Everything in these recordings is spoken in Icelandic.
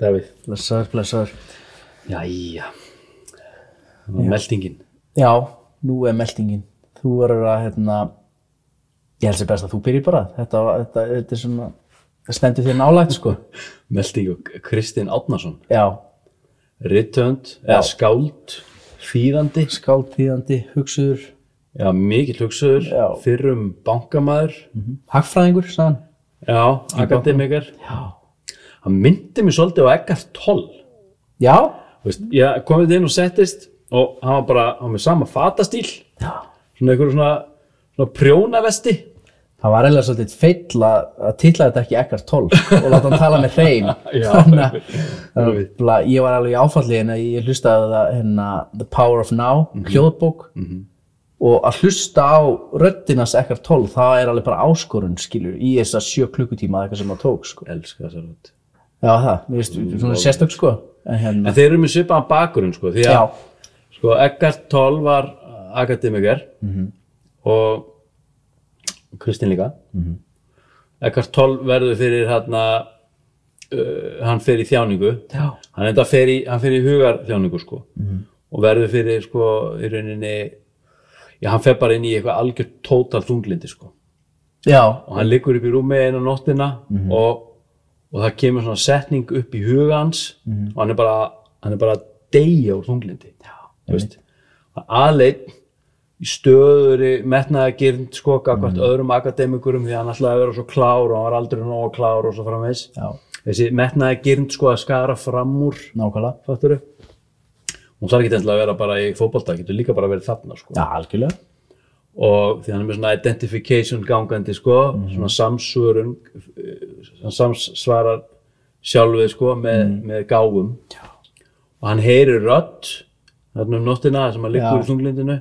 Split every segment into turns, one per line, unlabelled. Davíð
Blessaður, blessaður.
Jæja Það var meldingin
Já, nú er meldingin. Þú verður að, hérna, ég held sér best að þú byrjir bara. Þetta, var- þetta, þetta er svona, það stendur þér nálægt, sko.
Melding og Kristinn Átnason
Já,
Rittönd, eða skáld Þýðandi
skáldtíðandi, hugsuður,
Já, mikill hugsaður
Já. Mm.
Fyrrum bankamaður
hagfræðingur, sagðan.
Já, akademikar
Já.
Hann myndi mér svolítið á Eggert Toll
Já?
Þú veist, Ég komið inn og settist og hann var bara, hann var með sama fatastíl
Já.
svona einhverjum svona, svona prjónavesti
Það var eiginlega svolítið feill að, að titla þetta ekki ekkert 12 og láta hann tala með hreim.
Já,
Þannig að- uh,
einmitt.
Bla, ég var alveg í áfalli en ég hlustaði á það hérna The Power of Now,
Mhm.
hljóðbók og að hlusta á röddinas ekkert 12, það er alveg bara áskorun skilur, í þess að sjö klukkutíma eða eitthvað sem það tók sko.
Elskar þessar rödd
Já það, mér veist,
Mm,
svona sérstök sko en hérna,
En þeir eru með svipaðan bakgrunn sko, því að
já,
sko, Eggert Toll var akademiker og Kristinn líka Eggert Toll verður fyrir hérna uh, hann fer í þjáningu
já,
hann enda fer í, hann fer í hugar þjáningu sko og verður fyrir sko í rauninni já, hann fer bara inn í eitthvað algjör tótal þunglindi sko
já,
og hann liggur upp í rúmi einu nóttina og, og það kemur svona setning upp í huga hans og hann er bara hann er bara að deyja úr þunglindi já, veist aðleitt í stöðuri metnaðagirnd sko gagvart öðrum akademikurum því að hann ætlaði að vera svo klár og hann var aldrei nógu klár og svo framvegs
já,
þessi metnaðagirnd sko að skara fram úr
nákvæmlega
fatturu hún þarf ekki endilega að vera bara í fótbolta getur líka bara verið þarna sko
Já, algjörlega
og því hann er með svona identification gangandi sko,
Mhm.
svona samsvörun svona samsvarar sjálfið sko með,
Mhm.
með gáfum Já. og hann heyrir rödd þarna um nóttina sem hann liggur
Já.
í þunglindinu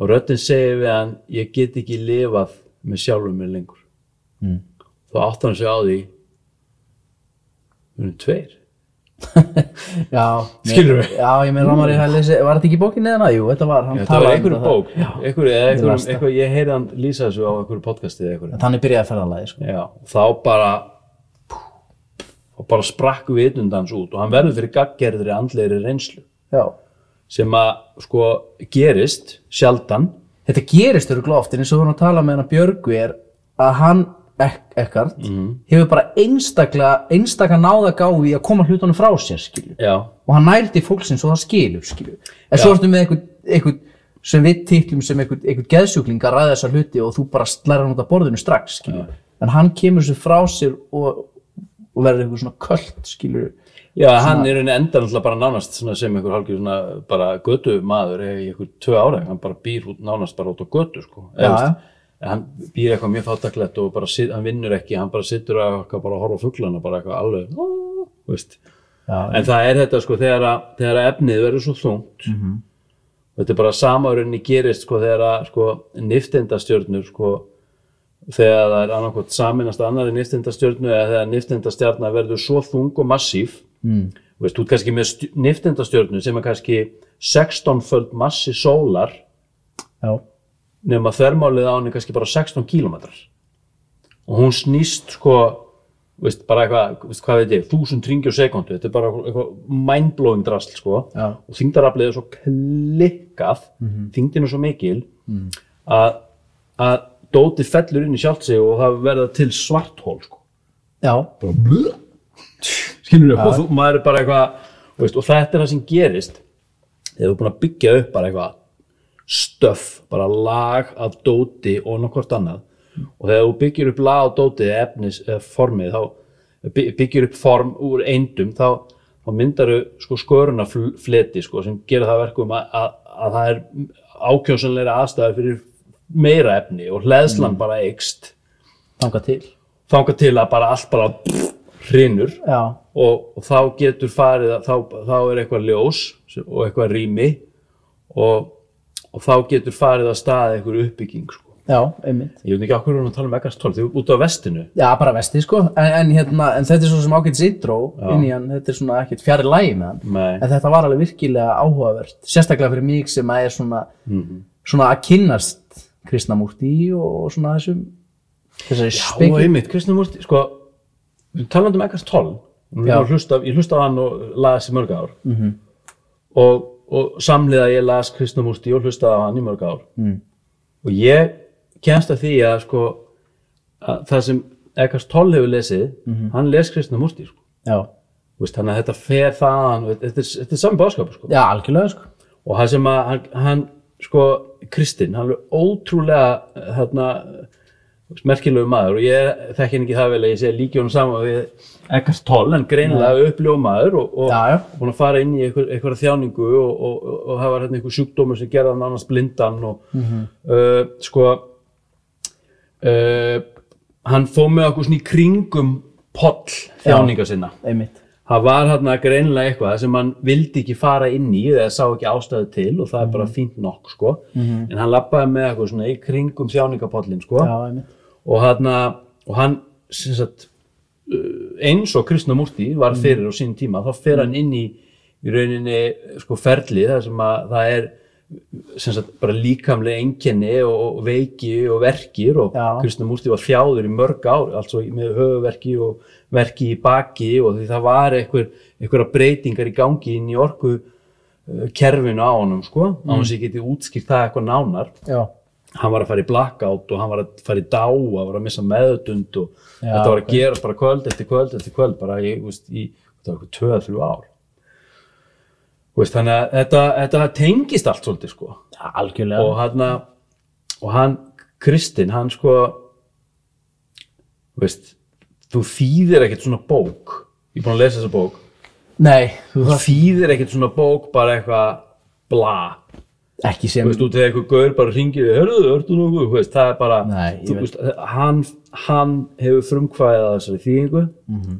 og röddin segir við hann ég get ekki lifað með sjálfum mér lengur
Mm.
þá átt hann sig á því við erum tveir
Já,
Skilurðu?
mér- Já, ég með Ramari mm. lesi, var þetta ekki í bókinni eða jú, þetta var, hann
þetta var
talaði um
einhverju
þetta.
bók einhverju, eða einhverjum,
las það.
einhverjum, ég heyri hann lýsa þessu á einhverju podcasti eða einhverju
En Þannig byrjaði ferðalagi, sko.
Já, þá bara og bara sprakk vitundans út og hann verður fyrir gaggerðri andlegri reynslu
Já.
sem að sko gerist sjaldan
Þetta gerist öruglega oft, en eins og við vorum að tala með hann Björgu er að hann ek ekkert
Mhm.
hefur bara einstaklega, einstaklega náða gáfi í að koma hlutunum frá sér, skilju.
Já,
Og hann nældi fólksins og það skilur, skilju. En svo ertu með einhvern, einhvern sem við titlum sem einhvern, einhvern geðsjúkling að ræða þessa hluti og þú bara slæra hann út af borðinu strax, skilju. En hann kemur sér frá sér og, og verður einhver svona köld, skilju.
já hann er enn enda náttúrulega bara nánast svona sem einhver hálfgjör svona bara götu maður í einhver tvö ára hann bara býr út nánast bara út á götu sko
Já,
Eða,
já.
veist, hann býr eitthvað mjög fátaklegt og bara sit, hann vinnur ekki, hann bara sittur að bara að horfa á fuglana bara eitthvað alveg "Ó", veist
Já,
En það er þetta sko þegar að, þegar að efnið verður svo þungt
Mhm.
þetta er bara sama rauninni gerist sko þegar að sko niftindastjörnur sko þegar það er annarkot saminast annari niftindastjörnu eða þegar niftindastjörna verður svo þung og massíf mm. veist, þú ert kannski með stj- niftindastjörnu sem er kannski 16-föld massi sólar
já,
nema þvermálið á henni kannski bara 16 kílómetrar og hún snýst sko veist, bara eitthvað, veist, hvað veit ég, 1000 ringi á sekundu, þetta er bara eitthvað mindblowing drasl sko
Já.
og þyngdaraflið er svo klikkað þyngdin er svo mikil að, að dóti fellur inn í sjálft sig og það verða til svarthól sko
já.
skilur við, og þú, maður er bara eitthvað þú veist, og þetta er það sem gerist þegar þú er búin að byggja upp bara eitthvað stöf, bara lag af dóti og nokkvort annað og þegar þú byggir upp lag af dóti eða efnis, eða formið, þá by- byggir upp form úr eindum þá, þá myndaru sko sköruna fleti sko, sem gera það að verkum að, að, að það er ákjósanlega aðstæður fyrir meira efni og hleðslan bara eikst
þangað til
þanga til að bara allt bara hrinur
já,
og, og þá getur farið að, þá, þá er eitthvað ljós sem- og eitthvað rými og, og þá getur farið að staða eitthvað uppbygging sko.
já, einmitt
ég veit ekki okkur hún að tala um Eggerstól því út á vestinu
já, bara vesti sko, en, en, hérna, en þetta er svo sem ágætis intro inn í hann, þetta er svona ekkert fjari lægi með hann
Nei.
en þetta var alveg virkilega áhugavert sérstaklega fyrir mig sem að er svona svona að kynnast kristnamúrti og svona þessum þessari
og
spekki
einmitt, Kristján Múrti sko, talandi um Eggerstól Nú er ég að hlusta- ég hlusta á hann og las í mörg ár mm -hmm. og, og samliða ég las Kristnamústi og hlustaði á hann í mörg ár mm. og ég kemst að því að sko að það sem Ekkert Toll hefur lesið hann les Kristnamústi sko.
já,
Þú veist, þannig að þetta fer þaðan og þetta, er- þetta er sami báskap sko.
já, algjörlega sko
og það sem að hann, hann sko, Kristinn, hann er ótrúlega þarna þú veist, merkilegu maður og ég þekki hann ekki það vel að ég sé líki honum saman við ekkert toll en greinlega uppljóð maður og, og,
Já, já.
og búin að fara inn í einhver, einhverja þjáningu og, og, og, og það var hérna einhver sjúkdómur sem gerða hann annars blindan og uh, sko uh, hann fóð með okkur svona í kringum poll þjáninga sinna
einmitt,
það var hérna greinlega eitthvað sem hann vildi ekki fara inn í eða sá ekki ástæðu til og það er bara fínt nokk sko. en hann lappaði með eitthvað svona í kringum þjáningapollin sko.
já, einmitt
og, hana, og hann sem sagt, uh, eins og Kristnamúrti var fyrir á sín tíma þá fer hann inn í, í rauninni sko, ferli þar sem að það er sem sagt, bara líkamlega einkenni og, og veiki og verkir og
Já.
Kristnamúrti var þjáður í mörg ár altså með höfuverki og verki í baki og því það var einhver, einhverja breytingar í gangi inn í orku uh, kerfinu á honum sko, á hans ég geti útskýrt það eitthvað nánar
já,
hann var að fara í blackout og hann var að fara í dá og var að missa meðutund og
Já,
þetta var að
ok.
gera bara kvöld eftir kvöld eftir kvöld bara í, þú veist, í þetta var eitthvað tvöða þrjú ár Þú veist, þannig að þetta, þetta tengist allt svolítið sko
já algjörlega
og hann og hann Kristinn hann sko þú veist, þú þýðir ekkert svona bók ég er búin að lesa þessa bók
nei, þú
þú
þarf
þýðir ekkert svona bók bara eitthvað bla
ekki sem
Þú veist, út þegar eitthvað gaur bara ringir þig, hörðu, hörðu nokkuð, þú veist, það er bara,
Nei, ég
þú
veit.
veist, hann, hann hefur frumkvæðið að þessari þýðingu
Mhm.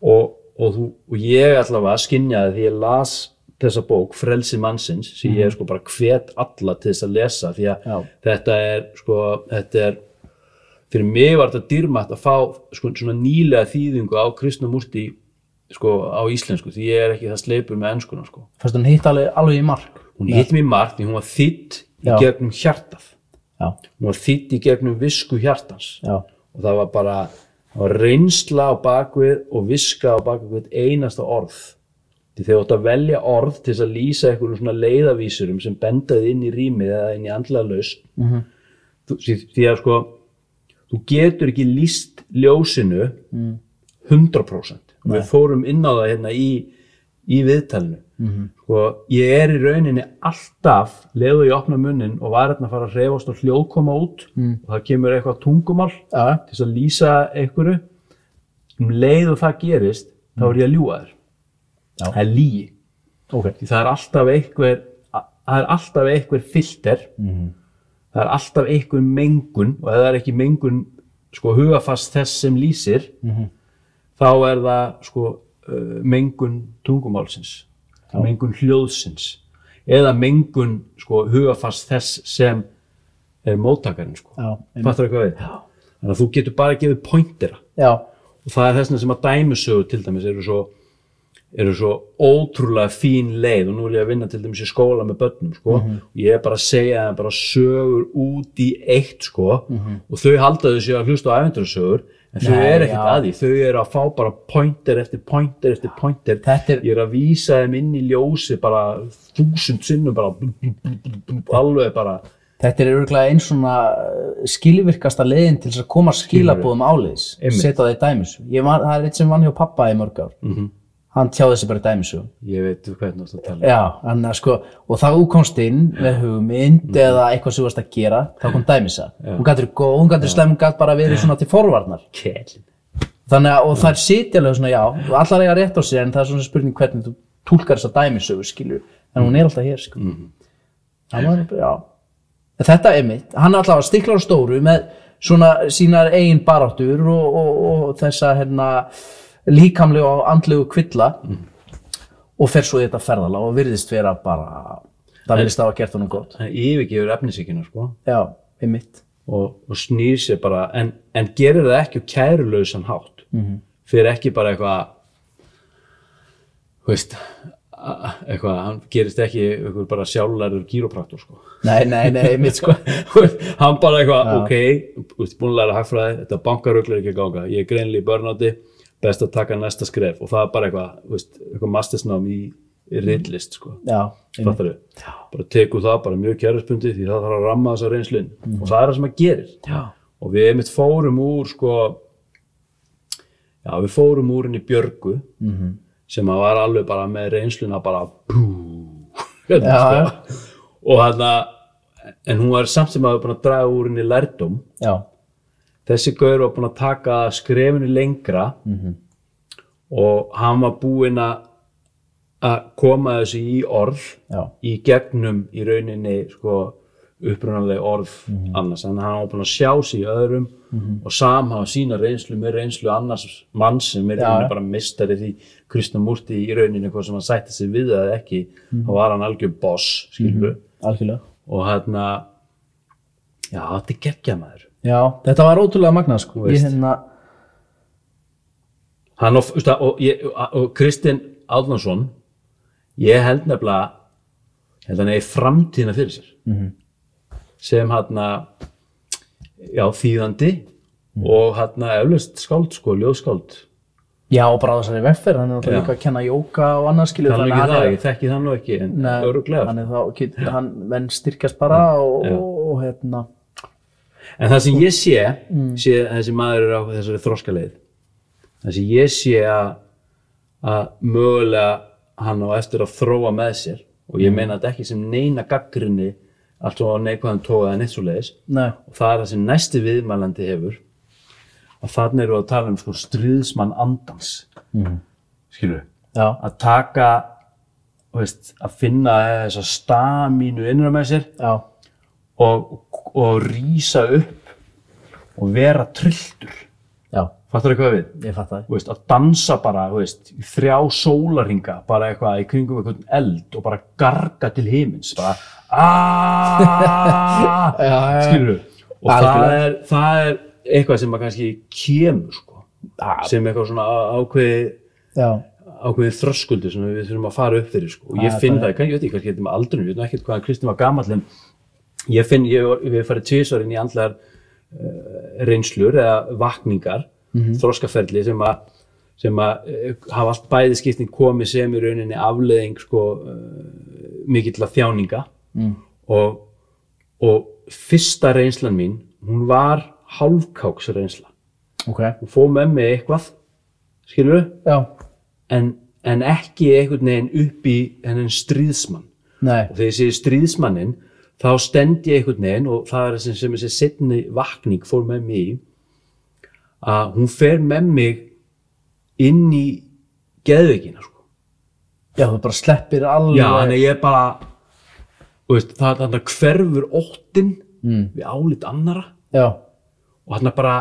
og, og, þú, og ég allavega skinjaði því ég las þessa bók, Frelsi mannsins, sem ég er sko bara hvet alla til þess að lesa því að
Mhm. Já.
þetta er, sko, þetta er, fyrir mig var þetta dýrmætt að fá sko, svona nýlega þýðingu á kristnumúrti, sko, á íslensku, því ég er ekki það sleipur með enskuna, sko
fannst hún hitt alveg, alveg í mark
hún hitt mér margt því hún var þýtt í
Já.
gegnum hjartað
já,
hún var þýtt í gegnum visku hjartans
já,
og það var bara það var reynsla á bakvið og viska á bakvið hvert einasta orð því þegar þú átt að velja orð til þess að lýsa einhverjum svona leiðavísurum sem bendaði inn í rýmið eða inn í andlega laus mm því, því að sko þú getur ekki líst ljósinu 100% og við fórum inn á það hérna í, í viðtalinu -hmm. og ég er í rauninni alltaf leiðu ég opna munnin og var hérna að fara að hreyfast og hljóð koma út mm. og það kemur eitthvað tungumál
já,
til þess að lýsa einhverju um leið og það gerist þá er ég að ljúga þér
Já.
það er lígi
ok
því það er alltaf einhver a- það er alltaf einhver filter
Mhm.
það er alltaf einhver mengun og ef það er ekki mengun sko hugafast þess sem lýsir
Mhm.
-hmm. þá er það sko uh, mengun tungumálsins mengun hljóðsins eða mengun sko hugafast þess sem er móttakarinn sko
já, einmitt.
Fattar eitthvað við? Já. Þannig að þú getur bara gefið pointera
já,
og það er þessna sem að dæmisögur til dæmis eru svo, eru svo ótrúlega fín leið og nú er ég að vinna til dæmis í skóla með börnum sko og ég er bara að segja þeim bara sögur út í eitt sko og þau halda þau sér að hlusta á ævendursögur en þau
Nei,
eru ekkert
já.
að því, þau eru að fá bara pointer eftir pointer eftir pointer
Þetta er-
ég er að vísa þeim inn í ljósi bara þúsund sinnum bara bú, bú, bú, bú, bú, bú, alveg bara
þetta er örgulega eins svona eh, skilvirkasta leiðin til þess að koma skilabóðum áleiðis
Einmitt.
setja það í dæmisug ég var, það er eitt sem vann hjá pappa í mörg ár
Mhm.
hann tjáði þessi bara í dæmisugum
ég veit hvernig þú ert að tala
Já, þannig að sko, og þá þú komst inn með hugmynd
Mhm.
eða eitthvað sem þú varst að gera, þá kom dæmisa. Hún gæti verið góð, hún gæti verið slæm, hún gæti bara verið svona til forvarnar.
kæl
Þannig að, og það er sitjalega svona, já, og allar eiga rétt á sér, en það er svona spurning hvernig þú túlkar þessa dæmisögu, skilur, en hún er alltaf hér, sko. Það var, já. En Þetta er mitt, hann er alltaf stiklar á stóru með svona sínar eigin baráttur og, og, og þessa, hérna, líkamlegu og andlegu kvilla og fer svo í þetta ferðalag og virðist vera bara, það virðist hafa gert honum gott.
hann yfirgefur efnisíkina sko
Já, er mitt.
og, og snýr sér bara en, en gerir það ekki á kærulausan hátt mm -hmm. fyrir ekki bara eitthvað þú veist a- a- eitthvað, hann gerist ekki eitthvað bara sjálflærður kýrópraktor sko
Nei, nei, nei, er mitt, sko.
Þú veist, hann bara eitthvað, ok, þú veist, búin að læra hagfræði þetta bankarugl er ekki að ganga, ég er greinlega í börnátti best að taka næsta skref og það er bara eitthvað, þú veist, eitthvað mastersnám í rillist sko
já, einmitt.
Fattarðu? bara teku það bara mjög kjærspundi því það þarf að ramma þessa reynslun
Mm.
og það er það sem að gerir
já,
og við einmitt fórum úr sko já við fórum úr henni Björgu
Mhm.
-hmm. sem að var alveg bara með reynsluna bara bú, hérna,
Já,
sko. og hann en hún var samt sem að búin að draga úr henni lærdóm
já,
þessi gaur var búin að taka skrefinu lengra
Mhm.
-hmm. og hann var búinn að að koma þessu í orð
já,
í gegnum í rauninni sko, upprunaleg orð
Mhm.
annars, en hann var búinn að sjá sig í öðrum og samhafa sína reynslu með reynslu annars manns sem er
Já,
ja.
já.
bara mistari því Kristamúrti í rauninni hvort sem hann sætti sig við það eða ekki,
Mhm.
þá var hann algjör boss skilur,
algjörlega
og hérna já, þetta er geggja maður
já, þetta var ótrúlega magnað sko ég
veist.
hérna,
hann og, veist, það, og, ég, og- og Kristinn Árnason ég held nefnilega ég held hann eigi framtíðina fyrir sér -hmm. sem hann já þýðandi og hann eflaust skáld sko, ljóðskáld
já, og bara á þessari vegferð hann er
Já.
náttúrulega líka að kenna jóka og annað skilur
þannig ekki
hann
það,
er-
ég þekki það nú ekki en
Nei,
öruglega
hann er þá, get, hann menn styrkjast bara og, og, og hérna
en það sem ég sé, sé að þessi maður er á þessari þroskaleið það sem ég sé að að mögulega hann á eftir að þróa með sér og ég meina þetta ekki sem neina gaggrinni allt svo neikvæðan tóa eða neitt svo leiðis
nei,
og það er það sem næsti viðmælandi hefur og þannig eru að tala um sko stríðsmann andans
Mhm.
skilur
já,
að taka þú veist, að finna þessa stamínu innra með sér
já,
og, og rýsa upp og vera trilltur
já
fattar hvað við?
ég fatt það,
Þú Veist, að dansa bara þú veist, í þrjá sólaringa bara eitthvað í kringum einhvern eld og bara garga til himins bara
Já, já, já.
skilur og það
Algjörlega.
er, það er eitthvað sem að kannski kemur sko,
Já.
sem eitthvað svona á- ákveði
já,
ákveðið þröskuldi sem við þurfum að fara upp fyrir sko. og ég
Það er
finn
bara-
það, kann- ég veit ekki kannski þetta með aldrunum, ég veit nú ekkert hvaðan Kristinn var gamall en ég finn, ég var- við farið tvisvar inn í andlar uh, reynslur eða vakningar þroskaferli sem að sem að eh, hafa allt bæði skiptin komið sem í rauninni afleðing sko, uh, mikill að þjáninga mm. og, og fyrsta reynslan mín hún var hálfkáks reynsla
ok
hún fóð með mig eitthvað skilur
já,
en, en ekki einhvern veginn upp í hennan stríðsmann
nei,
og þegar ég segi stríðsmannin þá stend ég einhvern veginn og það er sem, sem þessi setni vakning fór með mig í, að hún fer með mig inn í geðveikina sko.
já, þú bara sleppir alveg
já, þannig að ég bara þú veist, það er þannig hverfur óttin mm. við álit annara
já,
og þannig bara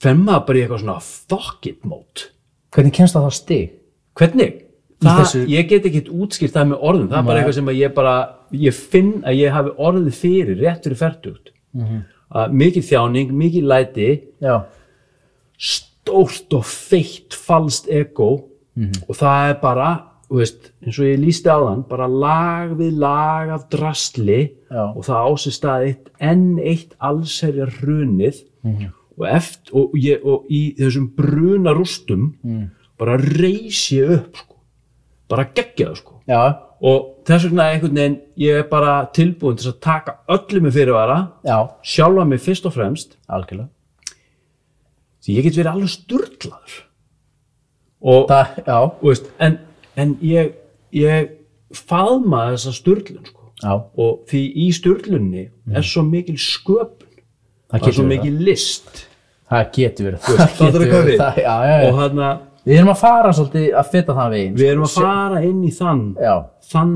fer maður bara í eitthvað svona fuck it mót
hvernig kennst það það stig?
hvernig? Það,
þessu-
Ég get ekki útskýrt það með orðum, það er bara
Nei.
eitthvað sem að ég bara, ég finn að ég hafi orðið fyrir, rétt fyrir ferdugt. Mm
Mhm.
mikið þjáning, mikið læti,
já,
stórt og feitt falskt ego og það er bara, þú veist, eins og ég lísti á þann, bara lag við lag af drasli
Já.
og það ásist að eitt enn eitt allserjar hrunið og, eft, og, ég, og í þessum bruna rústum bara reysi ég upp sko. bara geggja það sko
já,
og þess vegna einhvern veginn ég er bara tilbúin til að taka öllum með fyrirvara
já,
sjálfa mig fyrst og fremst
algjörlega
því ég get verið alveg sturglaður og,
það, já,
og veist, en, en ég, ég faðma þessa sturglun sko.
já,
og því í sturglunni er svo mikil sköpun
Mm. það
það er
getur
svo
verið
mikil list
það það getur verið
veist, fattar þú hvað við?
það, já, já, já,
og þarna
við erum að fara svolítið að feta það veginn sko.
við erum að fara inn í þann
já,
þann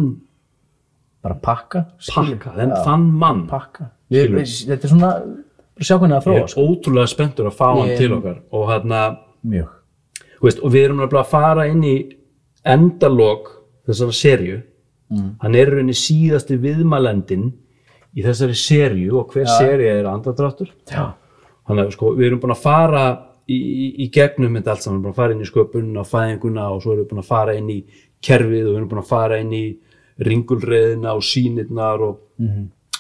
bara pakka skilur.
pakka, þann,
Já.
þann mann
pakka við,
Skilur.
við, þetta er svona, bara sjá hvernig það
ég er
þróast
ótrúlega spenntur að fá hann
sko. Ég-
til okkar og þarna
mjög,
Þú veist, og við erum nefnilega að fara inn í endalok þessara serju hann er í rauninni síðasti viðmælendin í þessari serju og hver ja. serja er andadráttur
já,
þannig að sko, við erum búin að fara í, í, í gegnum þetta allt saman, búin að fara inn í sköpunna fæðinguna og svo erum við búin að fara inn í kerfið og við erum búin að fara inn í ringulreðina og sínirnar og,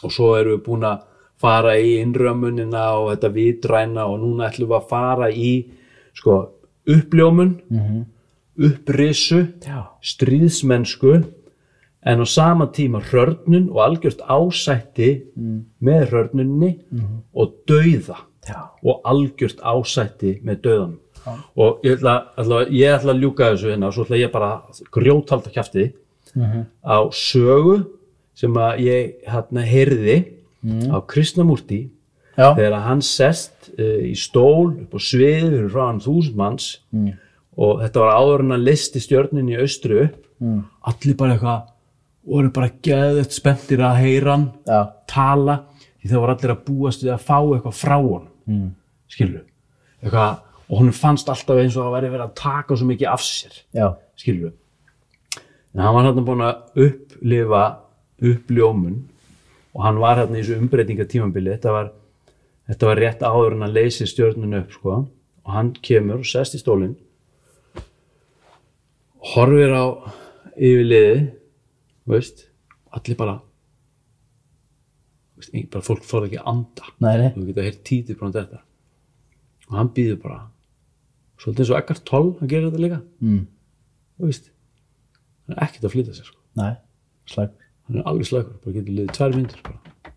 og svo erum við búin að fara í innrömmunina og þetta vitræna og núna ætlum við að fara í sko uppljómun upprisu
Já.
stríðsmennsku en á sama tíma hörnun og algjört ásætti með hörnunni og dauða
Já.
og algjört ásætti með dauðanum og ég ætla, ætla, ég ætla að ljúka þessu hérna og svo ætla ég bara að grjóthalda kjafti á sögu sem að ég hérna heyrði á Kristnamúrti
Já.
þegar að hann sest uh, í stól upp á svið fyrir frá hann þúsund manns
Mm.
og þetta var áður en hann listi stjörninni í austru upp
Mm.
allir bara eitthvað voru bara geðvett spenntir að heyra hann
Já.
tala því það voru allir að búast við að fá eitthvað frá hann mm. skilur eitthvað, og honum fannst alltaf eins og það væri verið að taka svo mikið af sér
Já.
skilur en hann var hérna búinn að upplifa uppljómun og hann var hérna í þessu umbreytinga tímabili þetta var, þetta var rétt áður en hann leysi stjörnun upp sko og hann kemur og sest í stólinn horfir á yfirliði veist, allir bara veist, ein- bara fólk fór ekki að anda
Nei, nei.
þú getur að heyra títið brúin þetta og hann býður bara svolítið eins og Eckhart Toll hann gerir þetta líka
Mm.
þú veist hann er ekkert að flytja sér sko.
Nei. Slag.
hann er alveg slagur, bara getur liðið tvær myndur bara.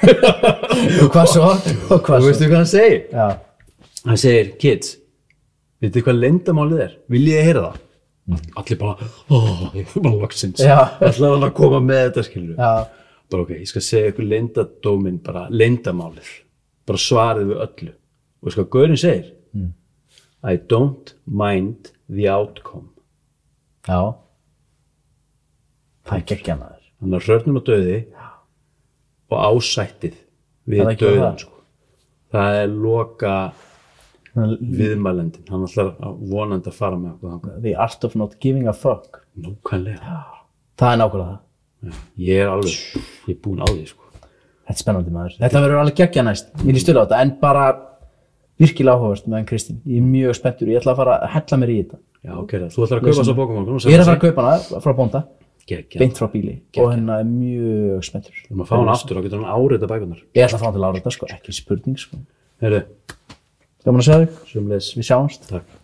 Og hvað svo? Og hvað svo?
veistu hvað hann segir?
Já.
hann segir, kids veitu þið hvað leyndamálið er? viljið þið heyra það? allir bara, óh, ég er bara loksins
Mm. Já.
allir hann að koma með þetta skilur
Já.
bara ok, ég skal segja ykkur leyndadóminn bara leyndamálið bara svarið við öllu og veist hvað Gaurin segir?
Mm.
I don't mind the outcome
Já. Það er geggjan að þér.
þannig að hrörnum og döði og ásættið
Er
við
það ekki
döðan
það?
sko. það er loka viðmælendin hann ætlar að vonandi að fara með okkur þangað.
The art of not giving a fuck.
nákvæmlega,
Það er nákvæmlega það.
ég er alveg ég er búinn á því sko.
Þetta er spennandi maður. Þetta verður alveg geggja næst. Ég líst stölu á þetta en bara virkilega áhugast meðan Kristín. Ég er mjög spenntur. Ég ætla að fara að hella mér í þetta.
já, ok, það. þú ætlar að kaupa svo bókum
Ég er að fara að kaupa hana frá bónda,
beint
beint frá bíli og hennar er mjög spenntur.
þú maður fá hann aftur, þá getur hann áreita bækunar
Ég ætla að fá hann til að ára þetta sko, ekki spurning sko.
heyrðu,
Gaman að segja þig,
sömulegis
við sjáumst.
takk